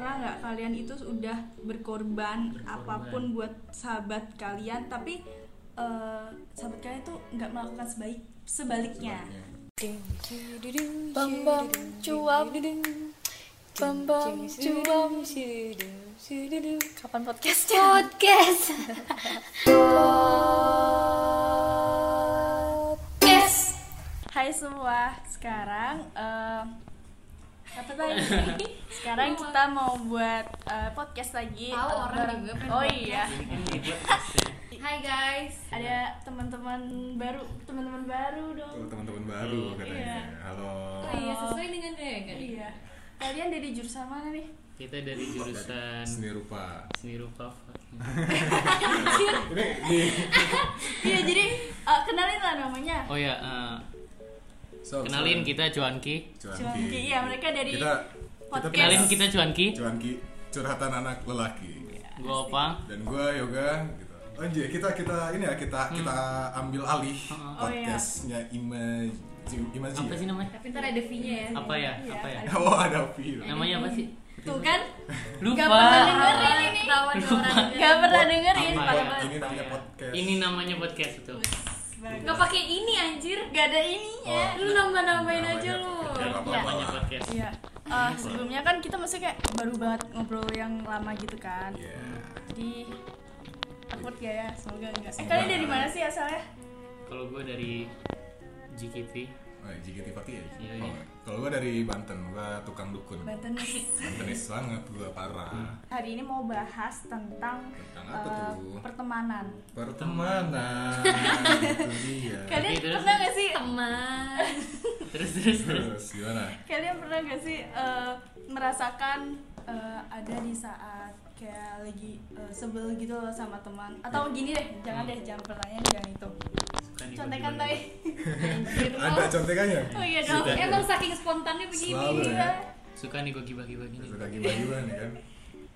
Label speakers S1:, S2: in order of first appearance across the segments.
S1: nggak kalian itu udah berkorban,
S2: Berkorban.
S1: apapun buat sahabat kalian tapi eh, sahabat kalian itu nggak melakukan sebaik sebaliknya
S3: Bam bam cuap Bam bam cuap Kapan podcastnya? Podcast Podcast
S1: Hai semua, sekarang eh, apa tadi? sekarang kita mau buat eh, podcast lagi.
S4: Tahu
S1: Eh,
S4: orang
S1: bareng-
S4: juga pengen
S1: Oh iya,
S2: Ini buat pasti
S4: Hai guys.
S1: ada teman-teman baru, teman-teman baru dong.
S5: Tuh, Oh, teman-teman baru katanya.
S1: Iya.
S5: Halo.
S4: Oh iya sesuai dengan ya kan?
S1: Iya. Kalian dari jurusan mana nih?
S2: kita dari jurusan
S5: seni rupa.
S2: seni rupa Pak.
S1: Iya, jadi eh, kenalin lah namanya.
S2: oh ya eh,
S5: So,
S2: kenalin
S5: so-
S2: kita Cuanki
S1: Cuanki, iya, mereka dari
S5: kita,
S1: podcast.
S2: kenalin kita Cuanki
S5: Cuanki curhatan anak lelaki.
S1: Iya.
S2: gua Opang
S5: Dan gua yoga gitu. Anjir, kita kita ini ya
S2: Hmm.
S5: kita kita ambil alih
S1: Oh, iya.
S5: podcastnya Imaji Imaji.
S2: apa
S5: ya?
S2: sih namanya
S4: Tapi ntar ada V-nya ya.
S2: apa ya
S1: Iya,
S2: apa ya
S5: Oh, ada Pi.
S2: namanya apa sih
S1: Tuh kan,
S2: lupa
S1: Gak pernah dengerin.
S4: Dengerin ini. Ketahuan orang.
S1: gak pernah dengerin.
S2: Apa ya?
S5: Ini namanya podcast.
S2: ini namanya podcast itu
S1: Bagus.
S4: Gak pakai ini anjir.
S1: Gak ada ininya.
S5: Oh,
S4: Lu nambah-nambahin aja lu.
S5: Gak apa-apa
S2: namanya
S5: lah.
S2: podcast
S1: Iya. Eh, sebelumnya kan kita masih kayak baru banget ngobrol yang lama gitu kan.
S5: Iya.
S1: Jadi takut gak ya? Semoga enggak. Eh kalian dari mana sih asalnya?
S2: kalau gua dari GKT
S5: Oh, JKT48 ya?
S2: Iya,
S5: Oh,
S2: iya.
S5: Kalau gua dari Banten, gua tukang dukun.
S1: Banten.
S5: Bantenis banget gua parah.
S1: Hari ini mau bahas tentang,
S5: Tentang apa
S1: eh,
S5: tuh?
S1: pertemanan.
S5: pertemanan itu dia
S1: Kalian
S2: Oke, terus?
S1: pernah gak sih?
S4: Teman.
S2: terus terus terus
S5: terus gimana
S1: Kalian pernah gak sih eh, merasakan eh, ada di saat kayak lagi eh, sebel gitu loh sama teman atau gini deh jangan deh jangan pertanyaan jangan itu
S2: Suka nih gua
S1: contekan
S2: gimana.
S1: tai
S4: Anjir lu.
S5: ada contekannya
S1: oh iya dong
S2: Sudah.
S4: Emang saking spontannya
S5: selalu
S4: begini.
S5: ya
S2: suka nih gua gibah-gibah gini
S5: sudah gimana nih kan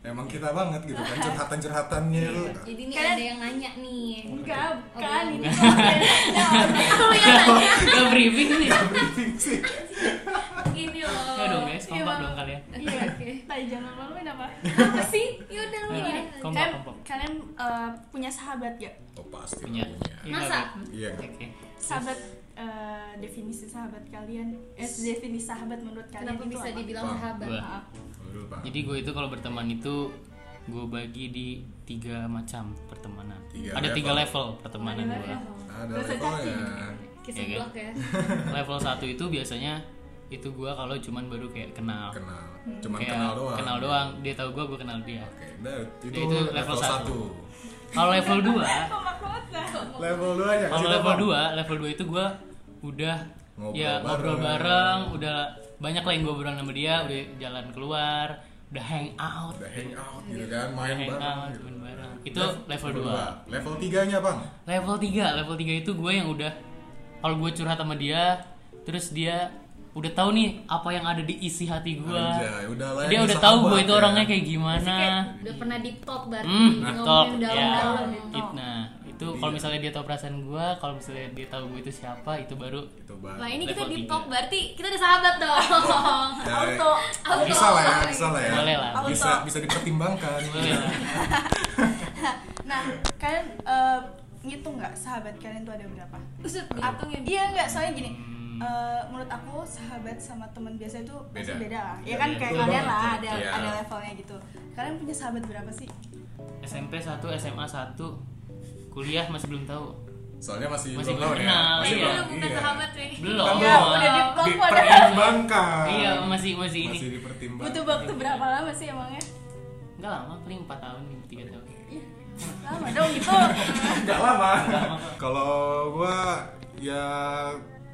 S5: emang kita banget gitu kan curhatan curhatannya
S1: Iya.
S5: lu
S4: Jadi nih
S1: Kalian-
S4: ada yang nanya nih.
S1: enggak
S4: Oh,
S1: kan
S4: iya.
S1: ini kontennya
S4: Lu yang nanya
S2: Gak briefing nih
S5: briefing sih
S4: gini loh.
S2: ya dong guys kompak
S1: Iya.
S2: dong kalian
S1: Iya, tai jangan maluin apa?
S4: Apa sih? Yaudah lu.
S2: Ayo,
S1: Iya,
S4: lah.
S2: nah, kompak.
S1: Kalian, kalian eh, punya sahabat gak?
S5: oh pasti
S2: punya
S5: punya
S2: Iya,
S4: Masa?
S2: Beb.
S5: iya kan?
S2: oke
S1: Sahabat eh, definisi sahabat kalian, eh definisi sahabat menurut kalian
S4: Kenapa
S1: itu
S4: bisa
S1: apa?
S4: dibilang
S5: Bang.
S4: sahabat?
S2: Gua.
S1: Maaf.
S5: Dulu, Pak.
S2: Jadi gue itu kalau berteman itu gue bagi di tiga macam pertemanan.
S5: Tiga
S2: Ada tiga level pertemanan
S1: Ada
S2: gue.
S1: level.
S5: ada
S1: Dosa
S5: levelnya
S4: Kisah
S2: Iya,
S4: blok ya.
S2: Level satu itu biasanya itu gue kalau cuman baru kayak kenal.
S5: kenal
S1: Hmm.
S5: cuman
S2: Kayak
S5: kenal doang Iya.
S2: Kenal doang. Dia tahu gue, gue kenal dia.
S5: oke nah, itu,
S2: Dia itu level
S5: level
S2: satu.
S5: satu
S2: Kalau level 2
S5: level dua ya
S2: kalau level 2 level 2 itu gue udah
S5: Ngobrol
S2: ya
S5: bareng.
S2: ngobrol bareng, udah banyak lah yang gue berang sama dia, udah jalan keluar, udah hang out,
S5: udah hang out
S1: Iya.
S5: gitu kan main
S2: hang
S5: bareng
S2: out,
S5: gitu.
S2: cuman bareng. Itu level 2
S5: dua. level tiganya bang
S2: Level 3, level 3 itu gue yang udah kalau gue curhat sama dia, terus dia udah tahu nih apa yang ada di isi hati gue.
S5: Anjay, udah lah
S2: Dia
S5: ini
S2: udah tahu
S5: sahabat
S2: gue itu
S5: ya.
S2: orangnya kayak gimana.
S4: Udah pernah di talk berarti
S2: Hmm,
S4: ngomongin
S2: top ya.
S4: dalam-dalam. gitu.
S2: It- Nah, itu kalau misalnya dia tahu perasaan gue, kalau misalnya dia tahu gue itu siapa, itu baru
S5: itu Gitu, bang
S4: Wah Nah, ini kita
S2: Level
S4: di
S2: tiga.
S4: talk berarti kita udah sahabat dong.
S1: Auto.
S4: Auto.
S5: bisa lah ya bisa lah ya
S2: Boleh lah.
S5: bisa bisa dipertimbangkan
S2: boleh lah.
S1: Nah, kalian eh, ngitung nggak sahabat kalian tuh ada berapa?
S4: Usut ya,
S1: Aku
S4: hitungin.
S1: Iya nggak soalnya gini. eh, menurut aku sahabat sama teman biasa itu pasti
S5: Beda.
S1: beda lah. Ya kan
S2: Beda.
S1: kayak
S5: Betul
S1: kalian
S5: banget.
S1: lah ada
S5: Iya.
S1: ada levelnya gitu. Kalian punya sahabat berapa sih?
S2: SMP 1, SMA 1, kuliah masih belum tahu.
S5: soalnya masih,
S2: Masih
S5: belum
S2: belum
S5: tahu
S2: kenal,
S5: ya masih
S2: iya.
S4: Lu bukan sahabat nih.
S2: Belum.
S4: Iya,
S1: Ya, udah di blok udah.
S5: dipertimbangkan
S2: Iya, masih masih ini.
S5: masih dipertimbangkan
S1: Butuh waktu berapa lama sih emangnya?
S2: Enggak lama, paling 4 tahun, 3 tahun.
S1: Lama dong gitu.
S5: nggak lama kalau gua ya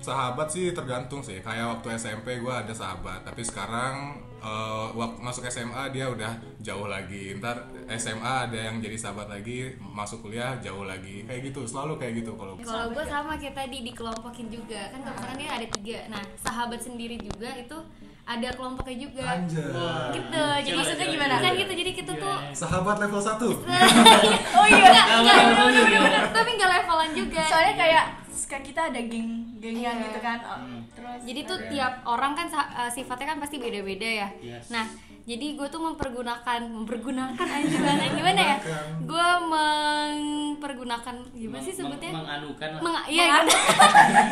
S5: sahabat sih tergantung sih kayak waktu SMP gua ada sahabat tapi sekarang eh, waktu masuk SMA dia udah jauh lagi ntar SMA ada yang jadi sahabat lagi masuk kuliah jauh lagi kayak gitu selalu kayak gitu kalau
S4: Kalau
S1: ya?
S4: gue sama kayak tadi dikelompokin juga kan kebetulan dia ada tiga. Nah sahabat sendiri juga itu ada kelompoknya juga.
S5: Anjay.
S4: Gitu. Jadi
S2: Gila,
S4: maksudnya
S2: gila,
S4: gimana?
S2: gila. Iya,
S4: Kan gitu. Jadi kita tuh
S5: sahabat level 1
S1: Oh iya.
S4: Enggak, enggak, enggak, enggak. tapi nggak levelan juga.
S1: Soalnya kayak suka kita ada geng-gengan
S4: Iya.
S1: gitu kan. Oh, Terus
S4: Jadi tuh tiap orang kan sa- eh, sifatnya kan pasti beda-beda ya.
S2: Yes.
S4: Nah, jadi gue tuh mempergunakan mempergunakan aja gimana gimana ya gue mempergunakan gimana sih
S2: Meng-
S4: sebutnya
S2: menganukan lah
S4: Meng- iya gitu.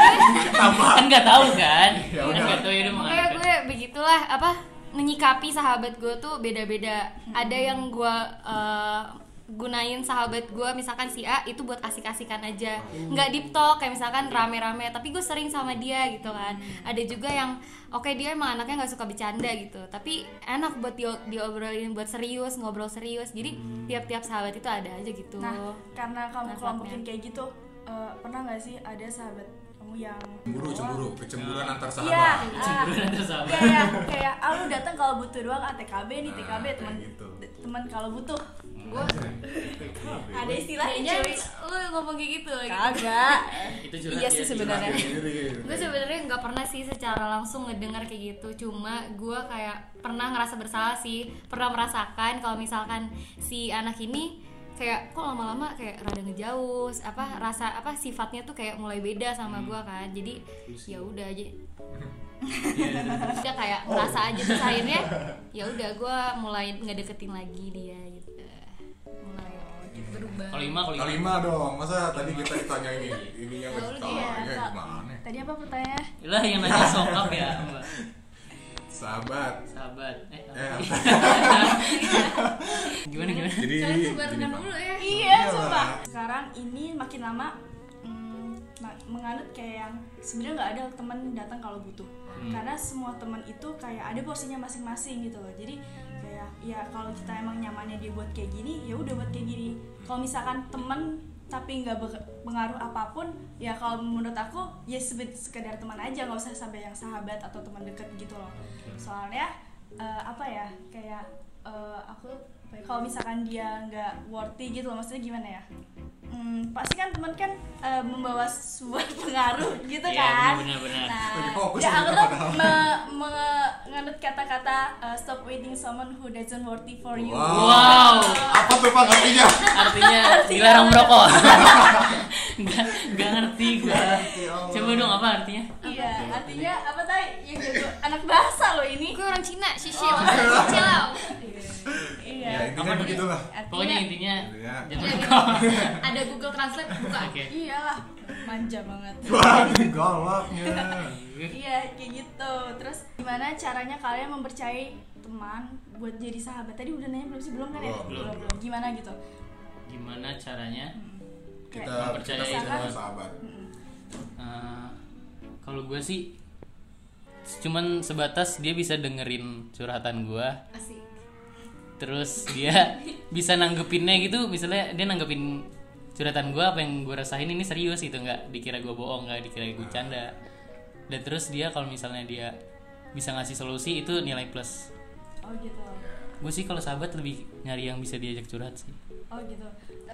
S2: kan nggak tahu kan
S5: Ya
S2: kan
S5: udah.
S2: nggak tahu ya
S4: Pokoknya
S2: udah menganukan
S4: gue begitulah apa menyikapi sahabat gue tuh beda-beda. Ada yang gue eh, gunain sahabat gue misalkan si A itu buat asik-asikan aja nggak deep talk kayak misalkan rame-rame tapi gue sering sama dia gitu kan ada juga yang oke dia emang anaknya nggak suka bercanda gitu tapi enak buat dia diobrolin buat serius ngobrol serius jadi tiap-tiap sahabat itu ada aja gitu
S1: Nah, karena kamu
S4: Manfaatnya.
S1: kelompokin kayak gitu, eh, pernah nggak sih ada sahabat kamu yang
S5: Cemburu, cemburu, kecemburuan antar
S1: Oh. Iya,
S5: sahabat.
S1: ah,
S2: terus sama
S1: kayak kayak ah lu datang kalau butuh doang ah TKB nih
S5: Nah,
S1: TKB
S5: kayak
S1: teman
S5: gitu. Iya,
S1: teman kalau butuh
S4: gue
S1: ada
S4: kayaknya
S1: istilahnya cuy
S4: lu ngomong kayak gitu gitu.
S1: kagak
S2: itu curhat
S3: Iya
S2: ya,
S3: sih
S2: curhat.
S3: sebenarnya.
S5: iya.
S4: gue sebenarnya nggak pernah sih secara langsung ngedengar kayak gitu cuma gue kayak pernah ngerasa bersalah sih pernah merasakan kalau misalkan si anak ini kayak kok lama-lama kayak rada ngejauh apa rasa apa sifatnya tuh kayak mulai beda sama gue kan jadi ya udah aja udah kayak ngerasa aja terus akhirnya ya udah gue mulai ngedeketin lagi dia gitu mulai berubah
S2: kalau lima kalau
S5: Kalau
S2: lima
S5: lima dong, masa tadi kita ditanya ini, ininya nggak
S4: Lalu dia,
S5: ditanya ya
S1: Kak.
S5: gimana?
S1: tadi apa pertanyaannya
S2: lah yang
S5: Iya.
S2: nanya sokap ya mbak
S5: Sahabat.
S2: sahabat eh, apa?
S5: Eh,
S2: gimana gimana
S5: jadi
S4: Kalian
S5: ini-
S4: sebarkan
S5: Bang.
S4: dulu ya
S1: iya
S5: Iyalah.
S1: sumpah sekarang ini makin lama mm, ma- menganut kayak yang sebenarnya nggak ada teman datang kalau butuh karena semua teman itu kayak ada porsinya masing-masing gitu loh jadi kayak ya kalau kita emang nyamannya dia buat kayak gini ya udah buat kayak gini kalau misalkan teman tapi nggak pengaruh apapun ya kalau menurut aku ya sebe- sekedar teman aja nggak usah sampai yang sahabat atau teman dekat gitu loh soalnya eh, apa ya kayak eh, aku apa ya, kalau misalkan dia nggak worthy gitu loh maksudnya gimana ya Hmm, pasti kan teman kan eh, membawa sebuah pengaruh gitu
S2: Iya,
S1: kan
S2: benar-benar.
S5: Lagi
S1: nah
S5: fokus
S1: ya
S5: sama
S1: aku
S5: kita
S1: tuh
S5: padahal.
S1: me- menganut kata-kata eh, stop waiting someone who doesn't worthy for you
S5: Wow.
S2: wow
S5: Apa tuh Pak artinya?
S2: artinya dilarang merokok nggak nggak ngerti gue coba dong apa artinya
S1: iya artinya apa tadi yang jago anak bahasa loh ini
S4: gue orang Cina sisil oh.
S5: Ya
S1: iya
S2: Apa
S5: intinya
S2: tuh?
S5: begitulah.
S2: pokoknya intinya
S5: Intinya.
S2: jangan
S4: Iya,
S2: merokok
S4: ada Google Translate buka
S2: oke
S1: iyalah manja banget
S5: Wah, galaknya.
S1: iya kayak gitu terus gimana caranya kalian mempercayai teman buat jadi sahabat tadi udah nanya belum sih belum kan ya
S5: Belum, belum.
S1: belum gimana gitu
S2: gimana caranya
S1: Kayak-
S5: Kita
S2: Mempercayai
S5: kita sama
S1: sahabat.
S5: sahabat.
S2: Eh, kalau gue sih cuman sebatas dia bisa dengerin curhatan gue
S4: asik
S2: terus dia bisa nanggepinnya gitu misalnya dia nanggepin curhatan gue apa yang gue rasain ini serius gitu nggak dikira gue bohong nggak dikira gue canda dan terus dia kalau misalnya dia bisa ngasih solusi itu nilai plus
S1: oh gitu
S5: Iya.
S2: gue sih kalau sahabat lebih nyari yang bisa diajak curhat sih
S1: oh gitu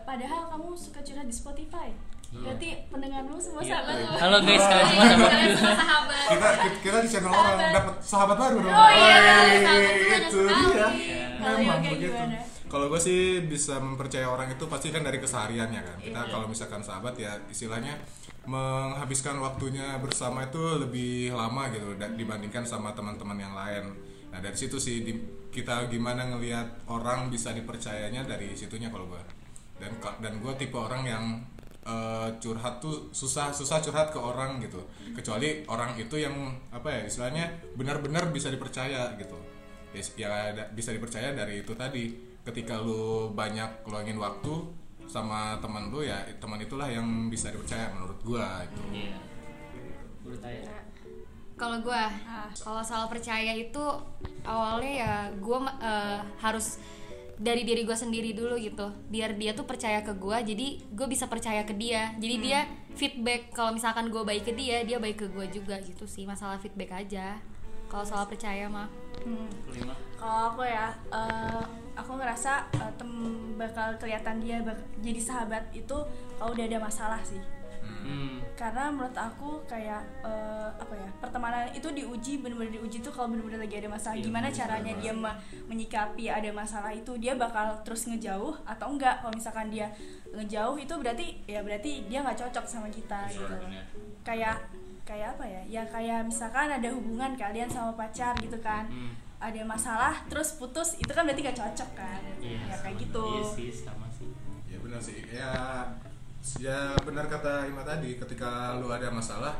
S1: padahal kamu suka curhat di Spotify
S5: Hmm.
S1: berarti pendengar lu semua
S2: Iya.
S1: sahabat lu Iya,
S2: halo guys kalian semua sahabat
S4: Kalian
S2: gue
S4: semua sahabat
S5: Kita kita di channel orang dapat sahabat baru dong.
S1: Oh, iya,
S5: Wih,
S4: sahabat tuh banyak
S5: itu
S4: sekali.
S5: dia.
S1: Kalau
S5: Memang
S1: yoga
S5: begitu.
S1: gimana?
S5: Kalau gue sih bisa mempercaya orang itu pasti kan dari kesehariannya kan. Kita kalau misalkan sahabat ya istilahnya menghabiskan waktunya bersama itu lebih lama gitu da- dibandingkan sama teman-teman yang lain. Nah dari situ sih di- kita gimana ngelihat orang bisa dipercayanya dari situnya kalau gue. Dan ka- dan gue tipe orang yang eh, curhat tuh susah susah curhat ke orang gitu. Kecuali orang itu yang apa ya istilahnya benar-benar bisa dipercaya gitu ya, ya da- bisa dipercaya dari itu tadi ketika lu banyak luangin waktu sama teman lu ya teman itulah yang bisa dipercaya menurut gua gitu
S2: Iya. Menurut saya.
S4: kalau gue
S1: Ah,
S4: kalau soal percaya itu awalnya ya gue harus dari diri gue sendiri dulu gitu biar dia tuh percaya ke gue jadi gue bisa percaya ke dia jadi
S5: Hmm.
S4: dia feedback kalau misalkan gue baik ke dia dia baik ke gue juga gitu sih masalah feedback aja kalau soal percaya mah
S1: Hmm.
S2: Kelima.
S1: kalau aku ya eh, aku ngerasa eh, tem bakal kelihatan dia bak- jadi sahabat itu kalau udah ada masalah sih
S2: Hmm.
S1: karena menurut aku kayak eh, apa ya pertemanan itu diuji bener-bener diuji tuh kalau bener-bener lagi ada masalah
S2: Iya,
S1: gimana
S2: bener,
S1: caranya dia me- menyikapi ada masalah itu dia bakal terus ngejauh atau enggak kalau misalkan dia ngejauh itu berarti ya berarti dia nggak cocok sama kita gitu
S2: Iya, bener.
S1: kayak kayak apa ya ya kayak misalkan ada hubungan kalian sama pacar gitu kan
S2: Hmm.
S1: ada masalah terus putus itu kan berarti gak cocok kan
S2: Iya,
S1: ya kayak
S2: sama.
S1: gitu
S2: Iya sih sama sih
S5: ya benar sih ya ya benar kata Ima tadi ketika lu ada masalah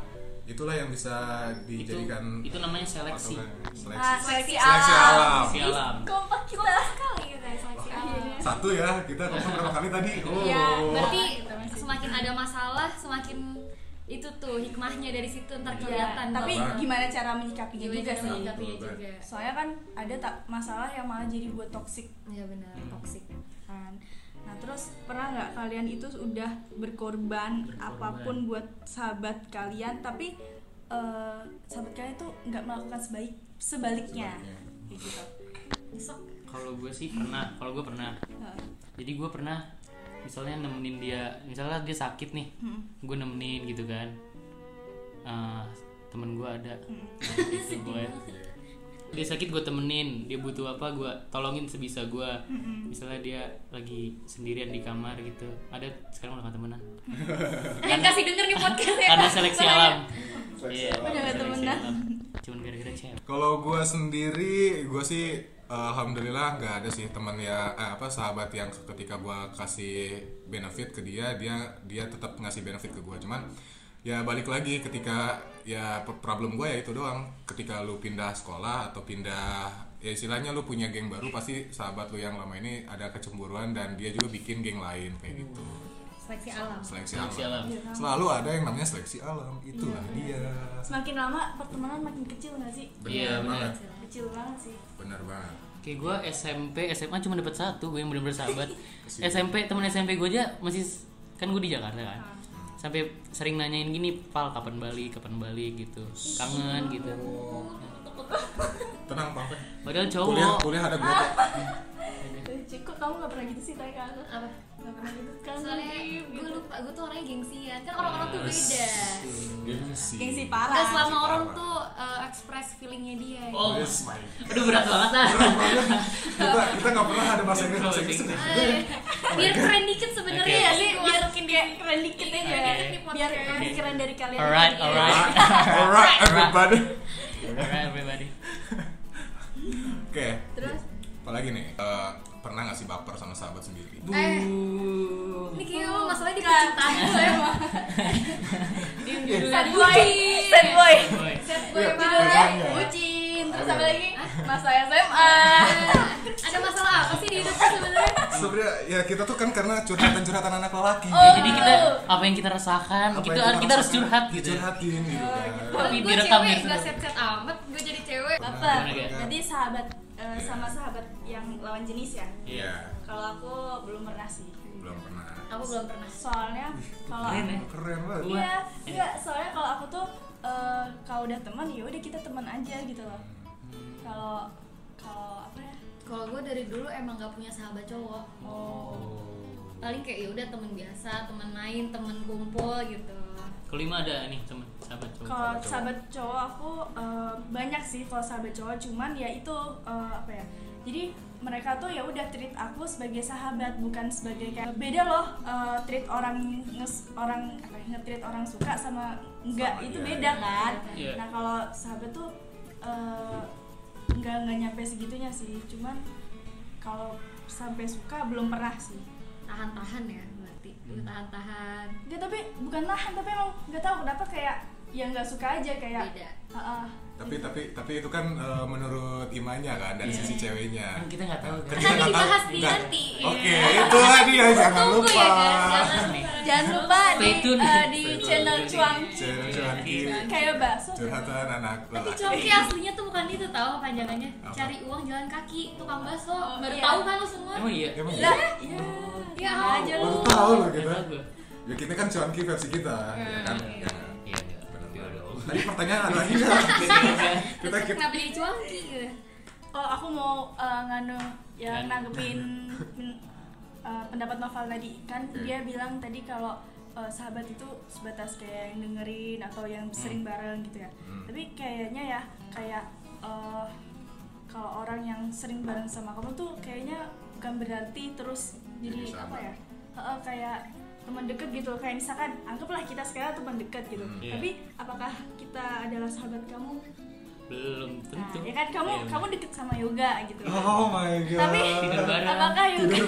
S5: itulah yang bisa
S2: itu
S5: dijadikan
S2: itu namanya seleksi
S5: patokan.
S1: Ah,
S5: seleksi
S1: seleksi
S5: seleksi alam
S2: seleksi alam
S1: kompak kita
S4: kali kita
S1: Oh,
S4: seleksi
S1: iya.
S4: alam.
S5: satu ya kita ngomong berapa kali tadi oh
S1: Ya,
S4: Iya, berarti semakin ada masalah semakin itu tuh hikmahnya dari situ ntar kelihatan.
S1: Iya, tapi
S5: Bang.
S1: gimana cara menyikapinya
S4: Gimana
S1: juga
S4: cara
S1: sih
S4: menyikapinya
S5: Betul,
S4: juga.
S1: soalnya kan ada tak masalah yang malah jadi buat toksik
S4: Iya benar, toksik.
S1: kan nah terus pernah nggak kalian itu udah berkorban, apapun buat sahabat kalian tapi eh, sahabat kalian itu nggak melakukan sebaik sebaliknya, Kayak gitu
S4: Besok
S2: kalau gue sih pernah kalau gue pernah
S1: Heeh.
S2: jadi gue pernah misalnya nemenin dia misalnya dia sakit nih gue nemenin gitu kan Eh, temen gue ada gitu gue dia sakit gue temenin dia butuh apa gue tolongin sebisa gue misalnya dia lagi sendirian di kamar gitu ada sekarang udah gak temenan
S4: Jangan kasih denger nih podcast ya.
S2: karena seleksi alam
S5: Seleksi
S2: Iya,
S5: alam.
S1: Udah gak
S2: seleksi
S1: temenan.
S2: alam. cuman gara-gara cewek
S5: Kalau gue sendiri, gue sih eh, alhamdulillah nggak ada sih teman ya eh, apa sahabat yang ketika gue kasih benefit ke dia, dia dia tetap ngasih benefit ke gue. Cuman ya balik lagi ketika ya p- problem gue ya itu doang. Ketika lu pindah sekolah atau pindah ya istilahnya lu punya geng baru pasti sahabat lu yang lama ini ada kecemburuan dan dia juga bikin geng lain kayak gitu.
S4: Seleksi alam.
S5: Seleksi
S2: seleksi alam
S5: alam. Selalu ada yang namanya seleksi alam. Itulah dia.
S1: Iya, semakin lama pertemanan makin kecil nggak sih
S2: Iya,
S5: Benar
S2: benar.
S5: banget.
S1: kecil banget sih
S5: Benar banget.
S2: Kayak gue SMP, SMA cuma dapat satu gue yang bener-bener sahabat SMP, temen SMP gue aja masih Kan gue di Jakarta kan Sampai sering nanyain gini, Pal kapan balik, kapan balik gitu Kangen gitu
S5: Tenang, Pak.
S2: Padahal
S5: Kuliah,
S2: cowok
S5: kuliah ada gue kok.
S1: Ciko kamu nggak pernah gitu sih tanya ke aku
S4: Apa?
S1: nggak pernah gitu kan
S4: Soalnya gue lupa, gue tuh orangnya gengsian Kan orang-orang tuh beda
S5: Gengsi.
S1: gengsi
S4: Gak
S1: parah
S4: selama orang tuh uh, express feelingnya dia ya.
S2: Oh
S5: Yes, my.
S2: Aduh berat banget lah
S5: Kita kita nggak pernah ada bahasa Inggris bahasa Inggris.
S2: Oke.
S4: Ay, Biar keren dikit sebenarnya
S2: Oke.
S4: ya
S1: Iya sih,
S4: sih
S1: biar dia keren dikit aja
S2: Iya, Oke.
S1: biar lebih keren dari kalian
S2: Alright,
S1: Iya.
S2: alright
S5: Alright, everybody.
S2: Alright everybody
S5: Oke.
S4: Terus?
S5: Apalagi nih, eh, pernah nggak sih baper sama sahabat sendiri?
S4: Eh, ini kayaknya lu masalahnya di percintaan ya, lu emang Diem dulu
S1: sad boy sad boy
S2: Boy.
S4: Set gue
S5: Iya.
S4: emang
S2: ya.
S1: bucin terus apa lagi masa SMA
S4: Ada masalah apa sih di hidup lu sebenarnya?
S5: Sebenarnya ya kita tuh kan karena curhatan-curhatan anak lelaki.
S2: Ya,
S1: Oh.
S2: Jadi kita, apa yang kita rasakan,
S5: Apa
S2: gitu,
S5: yang
S2: kita harus
S5: rasakan,
S2: curhat gitu ya.
S5: Curhatin gitu kan.
S2: Tapi
S4: Gue
S2: direkam
S4: cewek
S2: gitu.
S4: gak set-set amat, gue jadi cewek
S1: baper
S2: Gimana, Kak?
S1: berarti sahabat eh, sama sahabat yang lawan jenis ya
S5: Iya,
S1: kalau aku belum pernah sih
S5: belum pernah.
S4: Aku belum pernah
S1: soalnya kalau
S2: Keren ya.
S5: Keren banget.
S1: Iya, enggak. Soalnya kalau aku tuh eh, kalau udah teman ya udah kita teman aja gitu loh. Kalau kalau apa ya?
S4: Kalau gue dari dulu emang gak punya sahabat cowok
S2: Oh.
S4: Paling kayak yaudah temen biasa, temen main, temen kumpul gitu
S2: Kelima ada nih temen, sahabat cowok
S1: Kalau sahabat cowok aku eh, banyak sih kalau sahabat cowok cuman ya itu eh, apa ya? Jadi mereka tuh ya udah treat aku sebagai sahabat bukan sebagai kayak beda loh eh, treat orang nges, orang apa ya, nge-treat orang suka sama enggak
S5: Sama,
S1: itu
S5: iya,
S1: beda
S5: iya.
S1: kan.
S2: Iya.
S1: Nah, kalau sahabat tuh eh, nggak nggak nyampe segitunya sih. Cuman kalau sampai suka belum pernah sih.
S4: Tahan-tahan ya berarti
S5: Hmm.
S4: Lu tahan-tahan
S1: Enggak tapi bukan nahan tapi emang nggak tahu kenapa kayak ya nggak suka aja kayak
S4: Beda
S1: Heeh.
S5: Tapi tapi tapi itu kan eh, menurut imannya kan dari sisi ceweknya.
S2: Kan Iya. kita nggak tahu kan.
S5: Kan
S4: Nanti
S5: kita nggak tahu.
S4: dibahas di
S5: Nggak.
S4: nanti
S5: Oke, itu tadi ya jangan
S4: Tunggu
S5: lupa.
S4: ya
S2: kan?
S4: guys, jangan lupa
S1: Jangan lupa di
S2: Stay tune.
S1: eh, di channel Cuangki
S2: Iya.
S5: Curhat-curhatan
S1: kayak bakso.
S5: curhatan anak
S4: Tapi
S5: lelaki.
S4: cuangki aslinya tuh bukan itu tau panjangannya
S5: Apa?
S4: Cari uang jalan kaki, tukang bakso
S1: Oh,
S4: Baru
S1: iya.
S4: tahu kan lu semua?
S2: Emang iya?
S5: Emang
S1: Lah,
S5: iya?
S1: iya.
S4: Ya
S1: aja
S5: Baru
S4: ampun
S5: tahu loh
S2: Nggak
S5: kita.
S2: tahu gue.
S5: Ya kita kan cuanki versi kita, ya kan?
S4: Iya.
S5: Ya.
S2: Iya, iya.
S5: Benar.
S2: Hmm. Iya, dong.
S5: Tadi pertanyaan ada lagi kan? Kita
S4: Terus
S5: kita
S4: kenapa jadi cuangki gitu?
S1: Kalau aku mau eh, nganu ya
S2: Nganu.
S1: nanggepin mm, eh, pendapat Noval tadi kan dia bilang tadi kalau eh, sahabat itu sebatas kayak yang dengerin atau yang sering bareng gitu ya. Tapi kayaknya ya kayak eh, kalau orang yang sering bareng sama kamu tuh kayaknya bukan berarti terus jadi
S5: Jadi
S1: apa
S5: sahabat.
S1: ya? Heeh, kayak teman dekat gitu loh. kayak misalkan anggaplah kita sekarang teman dekat gitu
S5: Hmm.
S2: Iya.
S1: tapi apakah kita adalah sahabat kamu
S2: belum
S1: Nah,
S2: tentu
S1: ya kan kamu
S2: Iya.
S1: kamu deket sama yoga gitu. kan.
S6: Oh my god.
S1: Tapi
S2: Tidur bareng.
S1: apakah yoga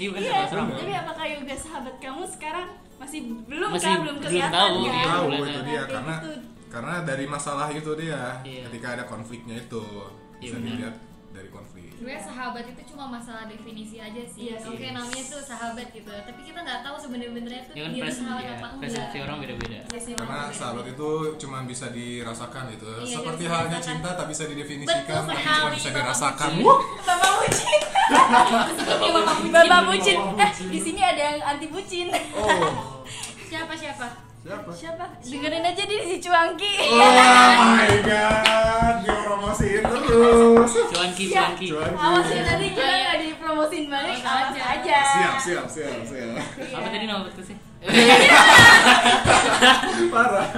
S2: iya bener
S1: Iya,
S2: serem
S1: tapi apakah yoga sahabat kamu sekarang masih belum
S2: Masih
S1: kan belum
S2: belum
S1: kelihatan
S2: tahu,
S1: kan?
S2: iya,
S5: tahu
S2: bulan
S5: itu
S2: ada.
S5: dia
S1: Kayak
S5: karena
S1: gitu.
S5: karena dari masalah itu dia
S2: Iya.
S5: ketika ada konfliknya itu
S2: Iya,
S5: bisa
S2: benar.
S5: dilihat dari konflik
S4: Sebenarnya sahabat itu cuma masalah definisi aja sih.
S1: Iya sih.
S4: Oke namanya tuh sahabat gitu, tapi kita nggak tahu sebenarnya tuh
S2: ya kan
S4: dia tuh
S2: pres
S4: sahabat
S2: ya,
S4: apa
S2: persepsi
S4: enggak.
S2: orang beda-beda
S4: Persepsi orang
S5: karena
S4: beda.
S5: sahabat itu cuma bisa dirasakan gitu
S4: Iya,
S5: seperti
S4: bisa
S5: halnya
S4: dirasakan.
S5: cinta tak bisa didefinisikan
S4: Betul
S5: tapi cuma
S4: sekali,
S5: bisa
S4: Bapak
S5: dirasakan
S2: Bucin.
S5: Wuh!
S1: Bapak bucin. Bapak bucin. Eh, di sini ada yang anti bucin.
S6: Oh,
S4: Siapa siapa?
S6: siapa?
S1: Siapa? Dengerin aja di si Cuangki.
S5: Oh my god, dia promosiin terus.
S2: cuanki cuanki
S1: Awas ya tadi
S2: Iya,
S1: kita nggak dipromosin banget,
S4: Awas
S1: awas
S4: aja.
S1: aja. Iya.
S5: Siap, siap, siap, siap.
S2: apa tadi nama podcastnya
S5: Parah.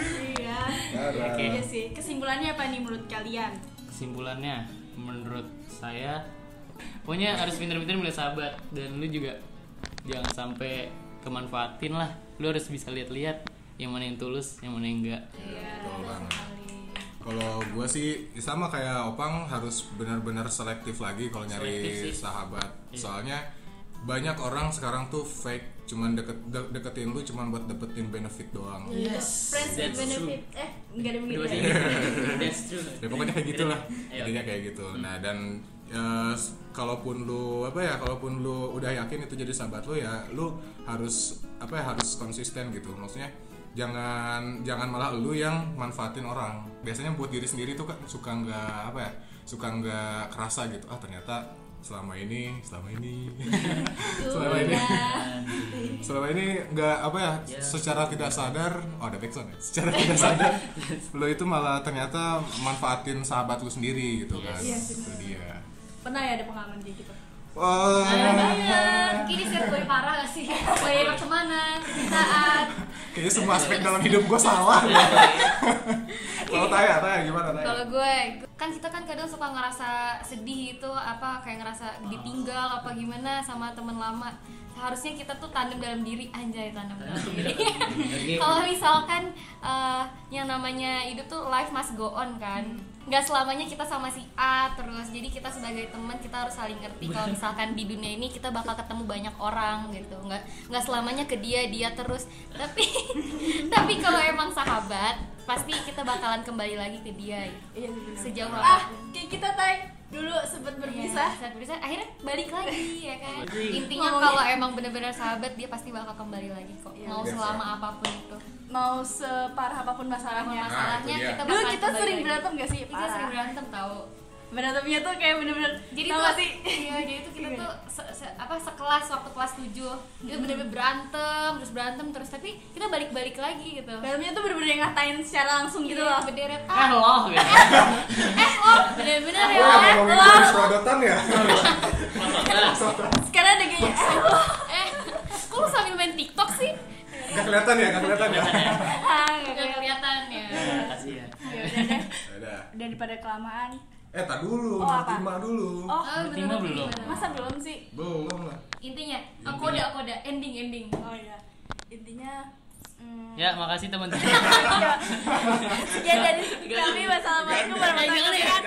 S1: Iya.
S5: Parah.
S2: Oke.
S1: Iya sih. Kesimpulannya apa nih menurut kalian?
S2: kesimpulannya menurut saya pokoknya harus pinter-pinter melihat sahabat dan lu juga jangan sampai kemanfaatin lah lu harus bisa lihat-lihat yang mana yang tulus yang mana yang enggak
S5: Iya,
S1: Iya,
S5: Betul banget. Kalau gue sih ya sama kayak Opang harus benar-benar selektif lagi kalau nyari
S2: Selektif sih. Iya.
S5: sahabat. Soalnya banyak orang sekarang tuh fake cuman deket de- deketin lu cuman buat dapetin benefit doang.
S2: yes
S1: Friends with benefit. Eh, nggak ada begitu. ya?
S2: that's true
S5: ya pokoknya kayak gitulah
S2: Iya.
S5: intinya kayak gitu nah dan ya, s- kalaupun lu apa ya kalaupun lu udah yakin itu jadi sahabat lu ya lu harus apa ya harus konsisten gitu maksudnya jangan jangan malah lu yang manfaatin orang biasanya buat diri sendiri tuh kan suka nggak apa ya suka nggak kerasa gitu ah ternyata selama ini selama ini selama ini selama ini nggak apa ya secara tidak sadar oh ada backsound ya secara tidak sadar lo itu malah ternyata manfaatin sahabat lu sendiri gitu kan
S1: Yes.
S5: itu dia
S1: Pernah ya ada pengalaman kayak gitu?
S5: Wah,
S4: Iya. Ini sirkuit parah gak sih? Kayak pertemanan, percintaan.
S5: kayaknya semua aspek dalam hidup gue salah.
S1: Iya.
S5: Kalau tanya, tanya gimana tanya?
S4: Kalau gue, kan kita kan kadang suka ngerasa sedih itu apa kayak ngerasa ditinggal apa gimana sama teman lama. Seharusnya kita tuh tandem dalam diri anjay tandem dalam diri. Kalau misalkan eh, yang namanya hidup tuh life must go on kan.
S1: Hmm.
S4: Nggak selamanya kita sama si A terus. Jadi kita sebagai teman kita harus saling ngerti. Kalau misalkan di dunia ini kita bakal ketemu banyak orang gitu. Nggak nggak selamanya ke dia dia terus. Tapi tapi kalau emang sahabat pasti kita bakalan kembali lagi ke dia gitu.
S1: Iya sih, benar.
S4: sejauh
S1: Ah,
S4: apapun.
S1: kayak kita tay dulu sempet berpisah.
S4: Iya, saat berpisah akhirnya balik lagi ya kan
S2: Agree.
S4: intinya
S1: Ngomongin-
S4: kalau emang bener-bener sahabat dia pasti bakal kembali lagi kok
S1: Iya.
S4: mau
S5: Yes,
S4: selama apapun itu
S1: mau separah apapun
S4: Iya.
S1: masalahnya.
S5: Nah,
S4: masalahnya
S5: itu dia.
S4: kita
S1: Dulu
S4: bakal
S1: kita
S4: kembali
S1: sering
S4: lagi.
S1: berantem gak sih?
S4: kita sering
S1: Parah.
S4: berantem tau
S1: Berantemnya tuh kayak bener-bener
S4: jadi
S1: tau
S4: tuh
S1: gak sih?
S4: iya jadi tuh kita tuh se- se- apa sekelas waktu kelas 7 itu bener-bener berantem terus berantem terus tapi kita balik-balik lagi gitu
S1: Berantemnya tuh bener-bener yang ngatain secara langsung gitu loh.
S4: berderet
S2: ah
S4: ah
S2: loh
S4: eh oh bener-bener ya
S5: Wah,
S4: eh,
S5: ngomongin
S4: oh.
S5: terus prodotan ya?
S1: Iya. Sekarang ada kayaknya eh, lo.
S4: eh kok lu sambil main tiktok sih
S5: Gak kelihatan ya, gak kelihatan ya?
S1: Ah, gak
S4: gak
S1: kelihatan.
S4: kelihatan ya
S2: kasih ya
S1: Ya udah deh.
S5: Udah.
S1: Daripada kelamaan.
S5: Eh, tak dulu,
S1: Oh, apa?
S5: terima dulu.
S1: Oh,
S4: oh,
S2: Bertima
S4: bener-bener
S2: belum?
S4: gimana?
S1: masa belum sih?
S5: Belum lah.
S4: intinya eh, koda koda ending ending
S1: Oh iya. Intinya hmm,
S2: ya makasih teman-teman
S1: Iya. ya dari kami wassalamualaikum warahmatullahi wabarakatuh.